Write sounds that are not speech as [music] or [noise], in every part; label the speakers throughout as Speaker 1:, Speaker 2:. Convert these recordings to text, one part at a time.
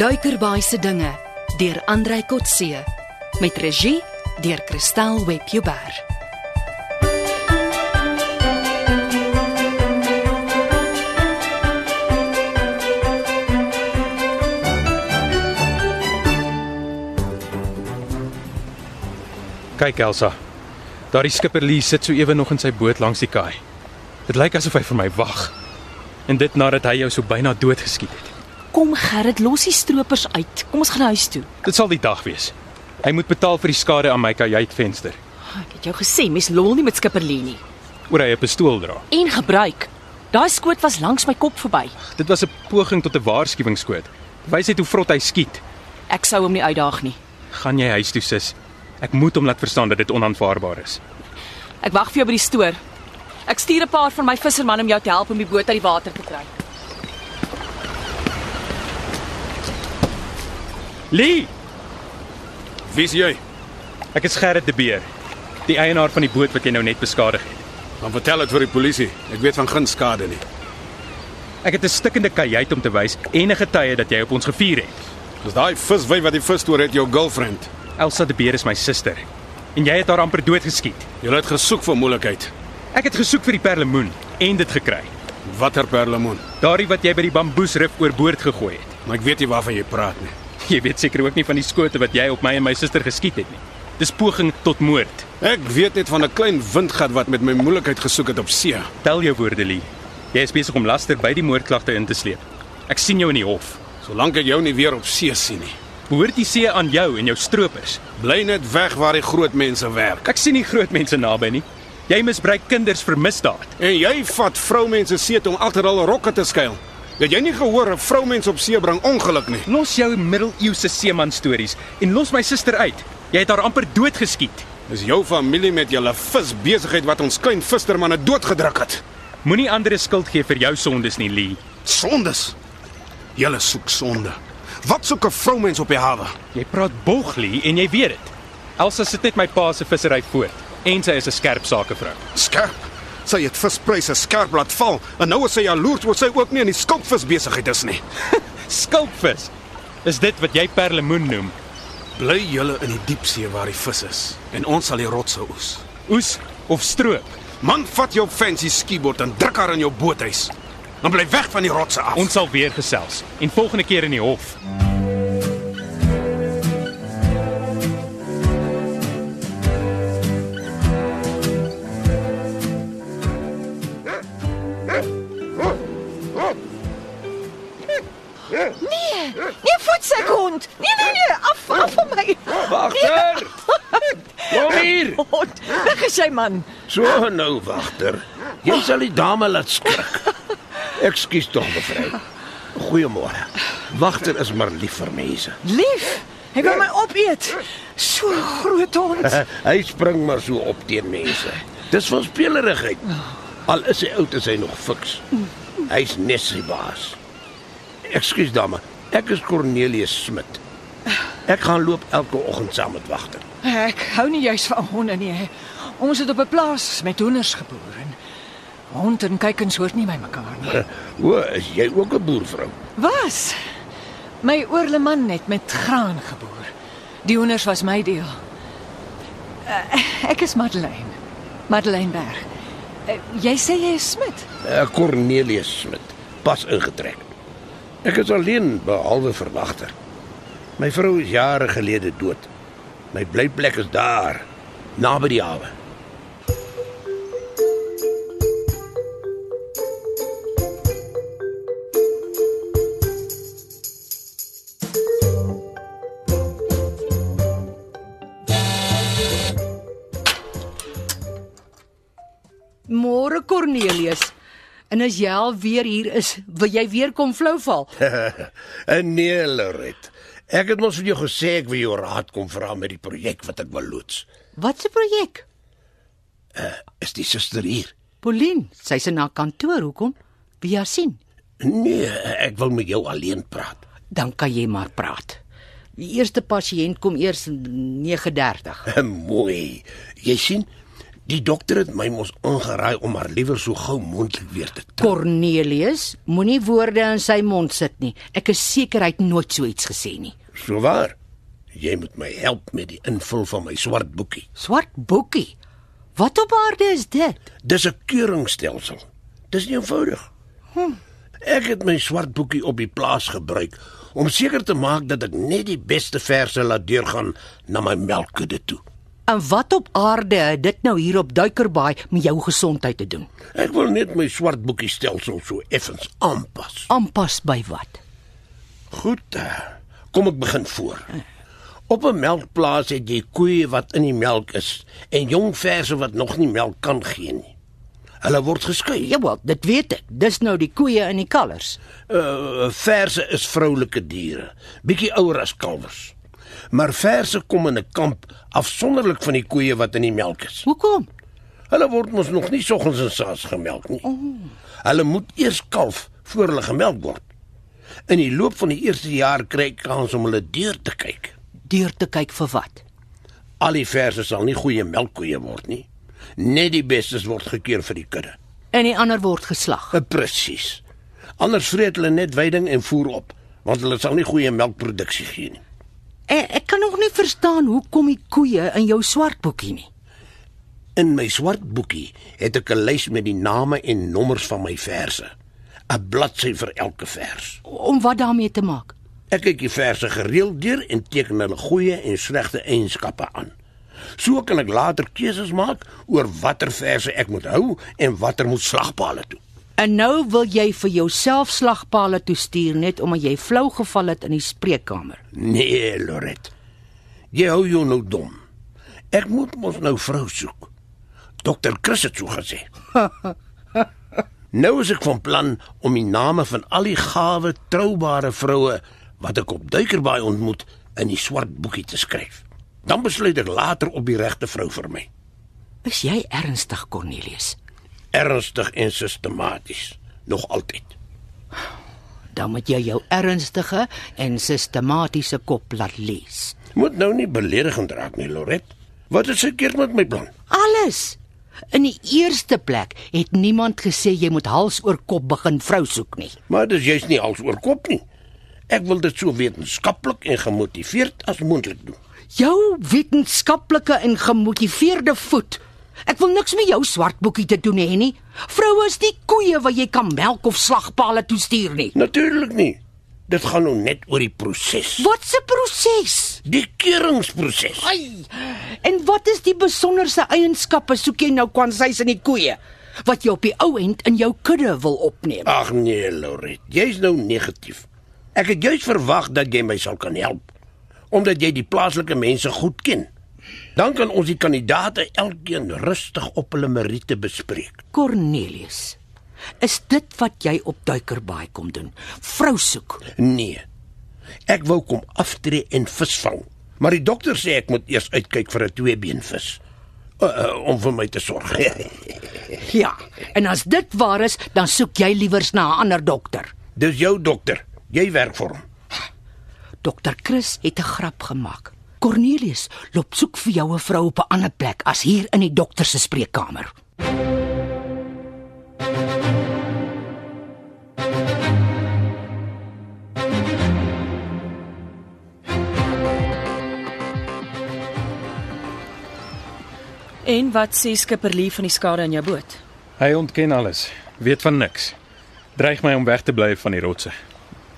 Speaker 1: Duikerbaai se dinge deur Andrei Kotse met regie deur Kristal Webjuber.
Speaker 2: Kyk Elsa. Daardie skipper Lee sit so ewe nog in sy boot langs die kaai. Dit lyk asof hy vir my wag. En dit nadat hy jou so byna dood geskiet het.
Speaker 3: Kom Gerrit, los die stroopers uit. Kom ons gaan huis toe.
Speaker 2: Dit sal die dag wees. Hy moet betaal vir die skade aan my kajuitvenster,
Speaker 4: Ah,
Speaker 3: Ek het jou gesê, mens lol nie met skipper Lee nie.
Speaker 2: oor hy 'n pistool dra.
Speaker 3: En gebruik. Daai skoot was langs my kop verby.
Speaker 2: Dit was 'n poging tot 'n waarskuwingsskoot. Wys net hoe vrot hy skiet.
Speaker 3: Ek sou hom nie uitdaag nie.
Speaker 2: Gaan jy huis toe, sis? Ek moet hom laat verstaan dat dit onaanvaarbaar is.
Speaker 3: Ek wag vir jou by die stoor. Ek stuur 'n paar van my visserman om jou te help om die boot uit die water te kry.
Speaker 2: Lee,
Speaker 5: Wie's jy?
Speaker 2: ek is Gerrit de Beer, die eienaar van die boot wat jy nou net beskadig het.
Speaker 5: Dan vertel dit vir die polisie. Ek weet van geen skade nie.
Speaker 2: Ek het 'n stikkende kajuit om te wys en 'n getuie dat jy op ons gevier het.
Speaker 5: Dis daai viswyf wat die vis toe het jou girlfriend.
Speaker 2: Elsa de Beer is my suster en jy het haar amper doodgeskiet.
Speaker 5: Jy het gesoek vir moeilikheid.
Speaker 2: Ek het gesoek vir die perlemoen en dit gekry.
Speaker 5: Watter perlemoen?
Speaker 2: Daardie wat jy by die bamboesrif oorboord gegooi het. [laughs]
Speaker 5: Maar ek weet nie waarvan jy praat nie.
Speaker 2: Jy weet seker ook nie van die skote wat jy op my en my suster geskiet het nie. Dis poging tot moord.
Speaker 5: Ek weet net van 'n klein windgat wat met my moeilikheid gesoek het op see.
Speaker 2: Tel jou woorde, Lee. Jy is besig om laster by die moordklagte in te sleep. Ek sien jou in die hof.
Speaker 5: Solank ek jou nie weer op see sien nie.
Speaker 2: Behoort die see aan jou en jou stroopers.
Speaker 5: Bly net weg waar die groot mense werk.
Speaker 2: Ek sien nie groot mense naby nie. Jy misbruik kinders vir misdaad.
Speaker 5: En jy vat vroumense see toe om agter hulle rokke te skuil. Dat jy nie gehoor 'n vroumens op see bring ongeluk nie.
Speaker 2: Los jou middeleeuse seeman stories en los my suster uit. Jy het haar amper doodgeskiet.
Speaker 5: Dis jou familie met julle visbesigheid wat ons klein vistermanne doodgedruk het.
Speaker 2: Moenie ander 'n skuld gee vir jou sondes nie, Lee.
Speaker 5: Sondes. Julle soek sonde. Wat soek 'n vroumens op die hawe?
Speaker 2: Jy praat bog, Lee, en jy weet dit. Elsa sit net my pa se vissery voort en sy is 'n skerp sakevrou.
Speaker 5: Skerp. Sy het vispryse skerp laat val en nou is sy jaloers oor sy ook nie in die skulpvis besigheid is nie.
Speaker 2: Skulpvis. Is dit wat jy perlemoen noem?
Speaker 5: Bly julle in die diepsee waar die vis is en ons sal die rotse oes.
Speaker 2: Oes of stroop?
Speaker 5: Man, vat jou fancy skiebord en druk haar in jou boothuis. Dan bly weg van die rotse af.
Speaker 2: Ons sal weer gesels en volgende keer in die hof.
Speaker 6: Nee, voetsak hond. Nee nee nee, af af van my.
Speaker 7: Wagter! Kom hier.
Speaker 6: Hond. Weg is jy man.
Speaker 7: So nou, wagter. Jy sal die dame laat skrik. Ekskuus tog, mevrou. Goeiemôre. Wagter is maar lief vir mense. [laughs]
Speaker 6: Lief. Hy wil my opeet. So groot
Speaker 7: [laughs]
Speaker 6: hond.
Speaker 7: Hy spring maar so op teen mense. Dis van spelerigheid. Al is hy oud, is hy nog fiks. Hy's net sy baas. Ekskuus dame. Ek is Cornelius Smit. Ek gaan loop elke oggend saam met wagter.
Speaker 6: Ek hou nie juis van honde nie. Ons het op 'n plaas met hoenders geboer en hond en kuikens hoort nie by mekaar nie.
Speaker 7: O, is jy ook 'n boervrou?
Speaker 6: Was. My oorle man net met graan geboer. Die hoenders was my deel. Eh, Ek is Madeleine. Madeleine Berg. Eh, Jy sê jy is Smit.
Speaker 7: Eh, Cornelius Smit, pas ingetrek. Ek is alleen behalwe vir wagter. My vrou is jare gelede dood. My blyplek is daar, naby die hawe.
Speaker 4: Môre Cornelius. En as jy al weer hier is, wil jy weer kom flouval?
Speaker 7: En nee, Loret. Ek het mos vir jou gesê ek wil jou raad kom vra met die projek wat ek wil loods.
Speaker 4: Wat 'n projek?
Speaker 7: Is die suster hier?
Speaker 4: Polien, sy's in haar kantoor, hoekom? Wie haar sien?
Speaker 7: Nee, ek wil met jou alleen praat.
Speaker 4: Dan kan jy maar praat. Die eerste pasiënt kom eers in 9:30.
Speaker 7: Mooi. Eh, Jy sien, Die dokter het my mos aangeraai om haar liewer so gou moontlik weer te trou.
Speaker 4: Cornelius, moenie woorde in sy mond sit nie. Ek is seker hy het nooit so iets gesê nie.
Speaker 7: So waar? Jy moet my help met die invul van my swart boekie.
Speaker 4: Swart boekie. Wat op aarde is dit?
Speaker 7: Dis 'n keuringsstelsel. Dis nie eenvoudig. Ek het my swart boekie op die plaas gebruik om seker te maak dat ek net die beste verse laat deurgaan na my melkkudde toe.
Speaker 4: En wat op aarde het dit nou hier op Duikerbaai met jou gesondheid te doen?
Speaker 7: Ek wil net my swart boekie stelsel so effens aanpas.
Speaker 4: Aanpas by wat?
Speaker 7: Goed. eh, Kom ek begin voor. Op 'n melkplaas het jy koeie wat in die melk is en jong verse wat nog nie melk kan gee nie. Hulle word geskei.
Speaker 4: Ja wel, dit weet ek. Dis nou die koeie in die kalvers.
Speaker 7: Uh, verse is vroulike diere, bietjie ouer as kalvers. Maar verse kom in 'n kamp afsonderlik van die koeie wat in die melk is.
Speaker 4: Hoekom?
Speaker 7: Hulle word mos nog nie soggens en saans gemelk nie. Hulle moet eers kalf voor hulle gemelk word. In die loop van die eerste jaar kry ek kans om hulle deur te kyk.
Speaker 4: Deur te kyk vir wat?
Speaker 7: Al die verse sal nie goeie melkkoeie word nie. Net die bestes word gekeer vir die kudde.
Speaker 4: En die ander word geslag.
Speaker 7: Eh, Presies. Anders vreet hulle net weiding en voer op, want hulle sal nie goeie melkproduksie gee nie.
Speaker 4: Ek, ek kan nog nie verstaan hoe kom die koeie in jou swart boekie nie.
Speaker 7: In my swart boekie het ek 'n lys met die name en nommers van my verse. 'n Bladsy vir elke vers.
Speaker 4: Om wat daarmee te maak?
Speaker 7: Ek kyk die verse gereeld deur en teken hulle goeie en slegte eienskappe aan. So kan ek later keuses maak oor watter verse ek moet hou en watter moet slagpale toe.
Speaker 4: En nou wil jy vir jouself slagpale toestuur net omdat jy flou geval het in die spreekkamer.
Speaker 7: Nee, Loret. Jy hou jou nou dom. Ek moet mos nou vrou soek. Dokter Chris het so gesê. nou is ek van plan om die name van al die gawe, troubare vroue wat ek op Duikerbaai ontmoet in die swart boekie te skryf. Dan besluit ek later op die regte vrou vir my.
Speaker 4: Is jy ernstig, Cornelius?
Speaker 7: Ernstig en sistematies, nog altyd.
Speaker 4: Dan moet jy jou ernstige en sistematiese kop laat lees.
Speaker 7: Moet nou nie beledigend raak nie, Loret. Wat is seker met my plan?
Speaker 4: Alles. In die eerste plek het niemand gesê jy moet hals oor kop begin vrou soek nie.
Speaker 7: Maar dis juist nie als oor kop nie. Ek wil dit so wetenskaplik en gemotiveerd as moontlik doen.
Speaker 4: Jou wetenskaplike en gemotiveerde voet. Ek wil niks met jou swart boekie te doen hê nie. Vroue is nie koeie wat jy kan melk of slagpale toestuur nie.
Speaker 7: Natuurlik nie. Dit gaan nou net oor die proses.
Speaker 4: Wat 'n proses.
Speaker 7: Die keuringsproses.
Speaker 4: Ai. En wat is die besonderse eienskappe soek jy nou kwansys in die koeie wat jy op die ou end in jou kudde wil opneem?
Speaker 7: Ag nee, Loret, jy's nou negatief. Ek het juis verwag dat jy my sal kan help omdat jy die plaaslike mense goed ken. Dan kan ons die kandidate elkeen rustig op hulle meriete bespreek.
Speaker 4: Cornelius, is dit wat jy op Duikerbaai kom doen? Vrou soek.
Speaker 7: Nee. Ek wou kom aftree en visvang, maar die dokter sê ek moet eers uitkyk vir 'n tweebeenvis. Uh, uh, om vir my te [laughs] sorg.
Speaker 4: Ja, en as dit waar is, dan soek jy liewers na 'n ander dokter.
Speaker 7: Dis jou dokter. Jy werk vir hom.
Speaker 4: Dokter Chris het 'n grap gemaak. Cornelius, loop soek vir jou 'n vrou op 'n ander plek as hier in die dokter se spreekkamer.
Speaker 3: En wat sê skipper Lee van die skade aan jou boot?
Speaker 2: Hy ontken alles, weet van niks. Dreig my om weg te bly van die rotse.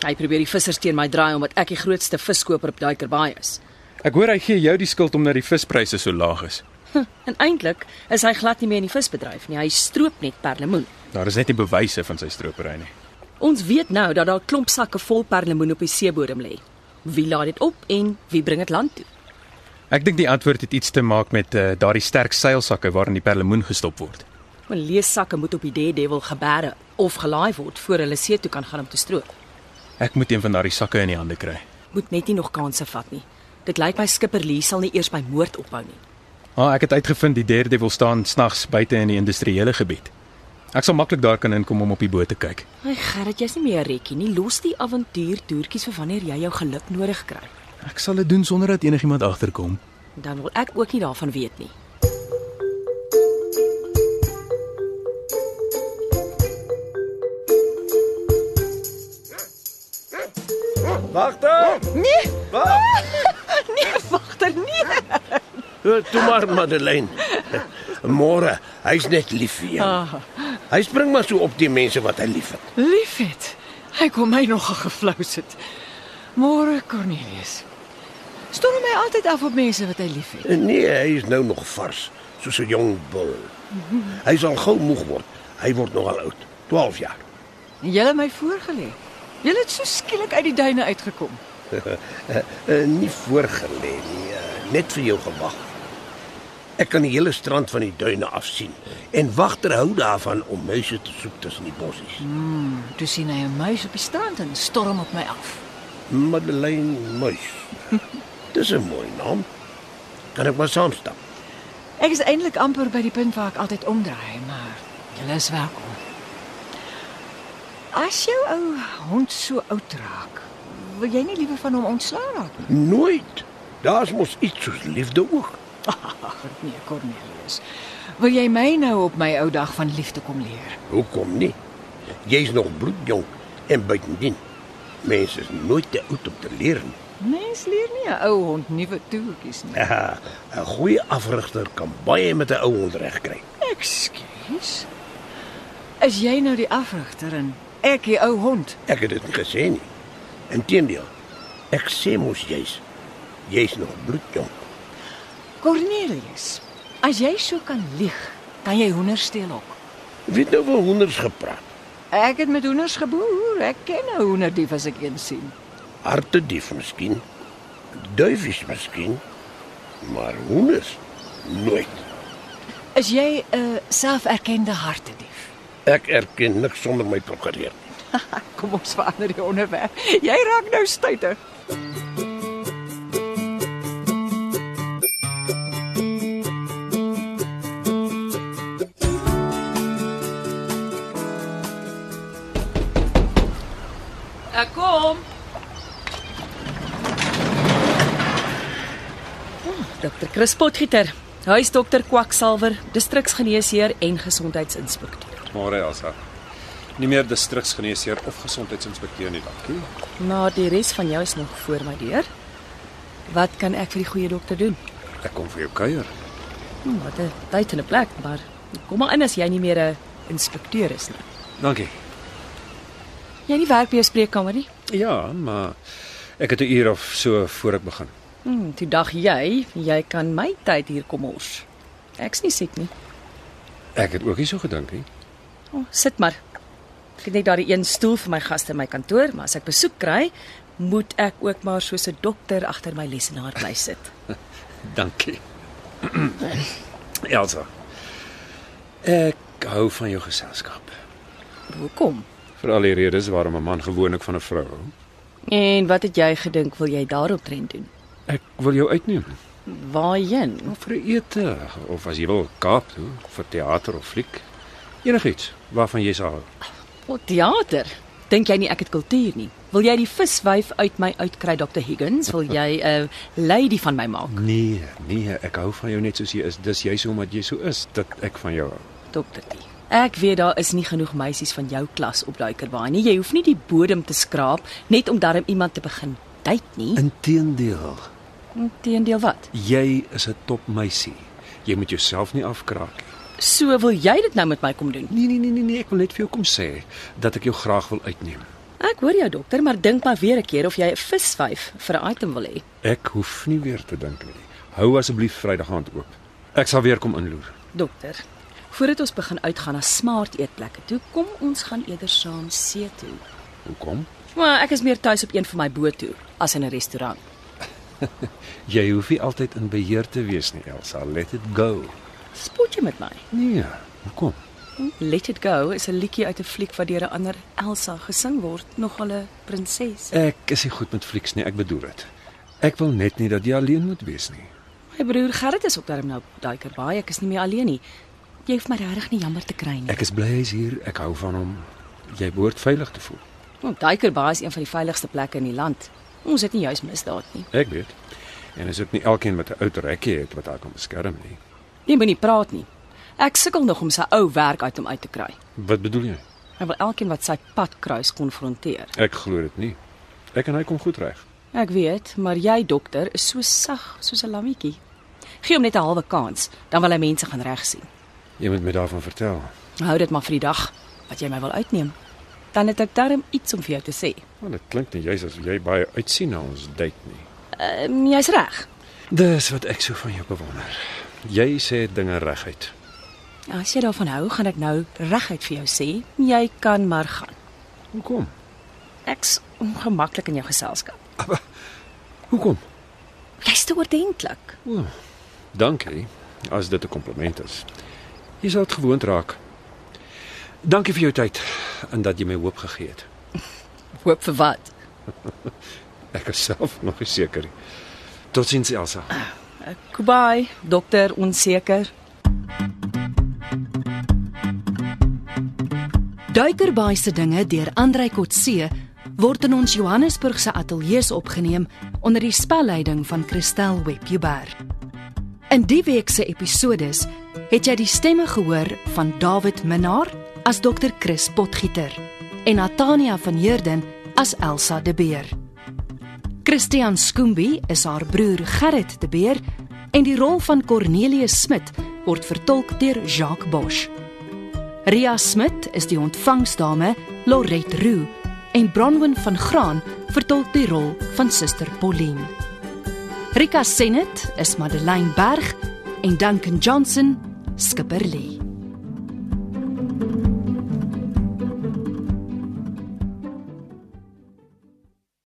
Speaker 3: Hy probeer die vissers teen my draai omdat ek die grootste viskoper op Duikerbaai is.
Speaker 2: Ek hoor hy gee jou die skuld omdat die vispryse so laag is.
Speaker 3: En eintlik is hy glad nie meer in die visbedryf nie. Hy stroop net perlemoen.
Speaker 2: Daar is net nie bewyse van sy stropery nie.
Speaker 3: Ons weet nou dat daar klomp sakke vol perlemoen op die seebodem lê. Wie laai dit op en wie bring dit land toe?
Speaker 2: Ek dink die antwoord het iets te maak met uh, daardie sterk seilsakke waarin die perlemoen gestop word.
Speaker 3: Want leessakke moet op die Daredevil gebere of gelaai word voor hulle see toe kan gaan om te stroop.
Speaker 2: Ek moet een van daardie sakke in die hande kry.
Speaker 3: Moet net nie nog kansse vat nie. Dit lyk my skipper Lee sal nie eers by moord ophou nie.
Speaker 2: Ah, ek het uitgevind die Daredevil staan snags buite in die industriële gebied. Ek sal maklik daar kan inkom om op die boot te kyk.
Speaker 3: Hy Gerrit, jy's nie meer 'n rekkie nie. Los die avontuurtoertjies vir wanneer jy jou geluk nodig kry.
Speaker 2: Ek sal dit doen sonder dat enigiemand agterkom.
Speaker 3: Dan wil ek ook nie daarvan weet nie.
Speaker 2: Wagter!
Speaker 6: Nee,
Speaker 2: Wag!
Speaker 6: nee, wagter, nee.
Speaker 7: Eh, Toe maar Madeleine. [laughs] Môre, hy's net lief vir jou. Hy spring maar so op die mense wat hy liefhet.
Speaker 6: Liefhet. Hy kom my nog geflous het. Môre Cornelius. Stoor my altyd af op mense wat hy liefhet.
Speaker 7: Eh, Nee, hy is nou nog vars, soos 'n jong bul. Hy sal gou moeg word. Hy word nogal oud, 12 jaar.
Speaker 6: Jy het my voorgelê. Jy het so skielik uit die duine uitgekom.
Speaker 7: Eh, nie voorgelê nie, eh, net vir jou gewag. Ek kan die hele strand van die duine afsien en wagter hou daarvan om muise te soek tussen die bossies.
Speaker 6: Toe sien hy 'n muis op die strand en storm op my af.
Speaker 7: Madeleine Muis. Dis 'n mooi naam. Kan ek maar saamstap?
Speaker 6: Ek is eintlik amper by die punt waar ek altyd omdraai, maar jy is welkom. As jou ou hond so oud raak, wil jy nie liewer van hom ontslaa raak nie?
Speaker 7: Nooit. Daar's mos iets soos liefde ook.
Speaker 6: Ag, nee, Cornelius. Wil jy my nou op my ou dag van liefde kom leer?
Speaker 7: Hoekom nie? Jy's nog bloedjong en buitendien. Mense is nooit te oud om te leer nie. [laughs]
Speaker 6: Mens leer nie 'n ou hond nuwe toertjies nie.
Speaker 7: Ja, 'n goeie afrigter kan baie met 'n ou hond regkry.
Speaker 6: Ekskuus. Is jy nou die afrigter en ek die ou hond?
Speaker 7: Ek het dit nie gesê nie. Inteendeel. Ek sê mos jy's jy's nog bloedjong.
Speaker 6: Cornelius, as jy so kan lieg, kan jy hoender steel ook.
Speaker 7: Wie het nou van honders gepraat?
Speaker 6: Ek het met hoenders geboer. Ek ken 'n hoenderdief as ek een sien.
Speaker 7: Hartedief miskien. Duifies miskien. Maar hoenders nooit.
Speaker 6: Is jy 'n selferkende hartedief?
Speaker 7: Ek erken niks sonder my prokureur.
Speaker 6: Kom ons verander die onderwerp. Jy raak nou stuiter.
Speaker 1: Ek kom. Dokter Chris Potgieter, huisdokter Kwaksalwer, distriksgeneesheer en gesondheidsinspekteur.
Speaker 2: Môre Elsa. Nie meer distriksgeneesheer of gesondheidsinspekteur nie, dankie.
Speaker 1: Maar die res van jou is nog voor my deur. Wat kan ek vir die goeie dokter doen?
Speaker 2: Ek kom vir jou kuier.
Speaker 1: Hm, wat 'n tyd en 'n plek, maar kom maar in as jy nie meer 'n inspekteur is nie.
Speaker 2: Dankie.
Speaker 1: Jy nie werk by jou spreekkamer nie.
Speaker 2: Ja, maar ek het 'n uur of so voor ek begin.
Speaker 1: Hm, toe dag jy, jy kan my tyd hier kom mors. Ek's nie siek nie.
Speaker 2: Ek het ook nie so gedink nie.
Speaker 1: Oh, sit maar. Ek het net daardie een stoel vir my gaste in my kantoor, maar as ek besoek kry, moet ek ook maar soos 'n dokter agter my lesenaar bly sit.
Speaker 2: Dankie. [clears throat] Elsa. Ek hou van jou geselskap.
Speaker 1: Hoekom?
Speaker 2: Vir al die redes waarom 'n man gewoonlik van 'n vrou hou.
Speaker 1: En wat het jy gedink wil jy daarop trend doen?
Speaker 2: Ek wil jou uitneem
Speaker 1: Waarheen?
Speaker 2: of vir 'n ete of as jy wil Kaap toe vir teater of fliek. Enigiets waarvan jy sal hou.
Speaker 1: Wat teater? Dink jy nie ek het kultuur nie? Wil jy die viswyf uit my uitkry, Dr Higgins? Wil jy 'n lady van my maak,
Speaker 2: Nee, nee, ek hou van jou net soos jy is. Dis juis omdat jy so is dat ek van jou hou.
Speaker 1: Dr T? Ek weet daar is nie genoeg meisies van jou klas op Duikerbaai nie. Jy hoef nie die bodem te skraap net om darm iemand te begin date nie.
Speaker 2: Inteendeel,
Speaker 1: Inteendeel wat?
Speaker 2: jy is 'n topmeisie. Jy moet jouself nie afkraak nie.
Speaker 1: So wil jy dit nou met my kom doen?
Speaker 2: Nee nee nee nee nee, ek wil net vir jou kom sê dat ek jou graag wil uitneem.
Speaker 1: Ek hoor jou dokter, maar dink maar weer 'n keer of jy 'n visvyf vir 'n item wil hê.
Speaker 2: Ek hoef nie weer te dink nie. Hou asseblief Vrydag aand oop. Ek sal weer kom inloer.
Speaker 1: Dokter, voordat ons begin uitgaan na smart eetplekke toe, kom ons gaan eerder saam see toe.
Speaker 2: Hoekom?
Speaker 1: Maar ek is meer tuis op een van my boot toe as in 'n restaurant.
Speaker 2: Jy hoef nie altyd in beheer te wees nie, Elsa. Let it go.
Speaker 1: Spot jy met my?
Speaker 2: Nee, hoekom?
Speaker 1: Let It Go is 'n liedjie uit 'n fliek wat deur 'n ander Elsa gesing word, nogal 'n prinses.
Speaker 2: Ek is nie goed met flieks nie, ek bedoel dit. Ek wil net nie dat jy alleen moet wees nie.
Speaker 1: My broer Gerrit is ook daarom nou op duiker baie. Ek is nie meer alleen nie. Jy hoef my regtig nie jammer te kry nie.
Speaker 2: Ek is bly hy's hier. Ek hou van hom. Jy behoort veilig te voel.
Speaker 1: Want Duikerbaai is een van die veiligste plekke in die land. Ons het nie juis misdaad nie.
Speaker 2: Ek weet. En is ook nie elkeen wat 'n oud rekkie het wat haar kan beskerm nie.
Speaker 1: Jy moenie praat nie. Ek sukkel nog om sy ou werk uit hom uit te kry.
Speaker 2: Wat bedoel jy?
Speaker 1: Hy wil elkeen wat sy pad kruis konfronteer.
Speaker 2: Ek glo dit nie.
Speaker 8: Ek en hy kom goed reg.
Speaker 3: Ek weet, maar jy dokter is so sag soos 'n lammetjie. Gee hom net 'n halwe kans, dan wil hy mense gaan reg sien.
Speaker 8: Jy moet my daarvan vertel.
Speaker 3: Hou dit maar vir die dag wat jy my wil uitneem. Dan het ek darm iets om vir jou te sê.
Speaker 8: Want dit klink nie jy's as jy baie uitsien na ons date nie.
Speaker 3: Ehm jy's reg.
Speaker 8: Dis wat ek so van jou bewonder. Jy sê dinge reguit.
Speaker 3: Ja, As jy daarvan hou, gaan ek nou reguit vir jou sê, jy kan maar gaan.
Speaker 8: Hoekom?
Speaker 3: Ek's ongemaklik in jou geselskap.
Speaker 8: Hoekom?
Speaker 3: Jy's te oordentlik.
Speaker 8: Dankie, as dit 'n kompliment is. Jy sal dit gewoond raak. Dankie vir jou tyd en dat jy my hoop gegee het.
Speaker 3: Hoop vir wat?
Speaker 8: Ek is self nog nie seker nie. Totsiens Elsa.
Speaker 3: Kubai, dokter onseker.
Speaker 1: Duikerbaai se dinge deur Andrei Kotse word in ons Johannesburg se ateljee se opgeneem onder die spelleiding van Christel Webjuber. In die week se episodes het jy die stemme gehoor van David Minnar as Dr Chris Potgieter en Natania van Heerden as Elsa de Beer. Christian Skoombi is haar broer Gerrit de Beer en die rol van Cornelius Smit word vertolk deur Jacques Bosch. Ria Smit is die ontvangsdame Loret Roo en Bronwyn van Graan vertolk die rol van suster Pauline. Rika Senet is Madeleine Berg en Duncan Johnson skipper Lee.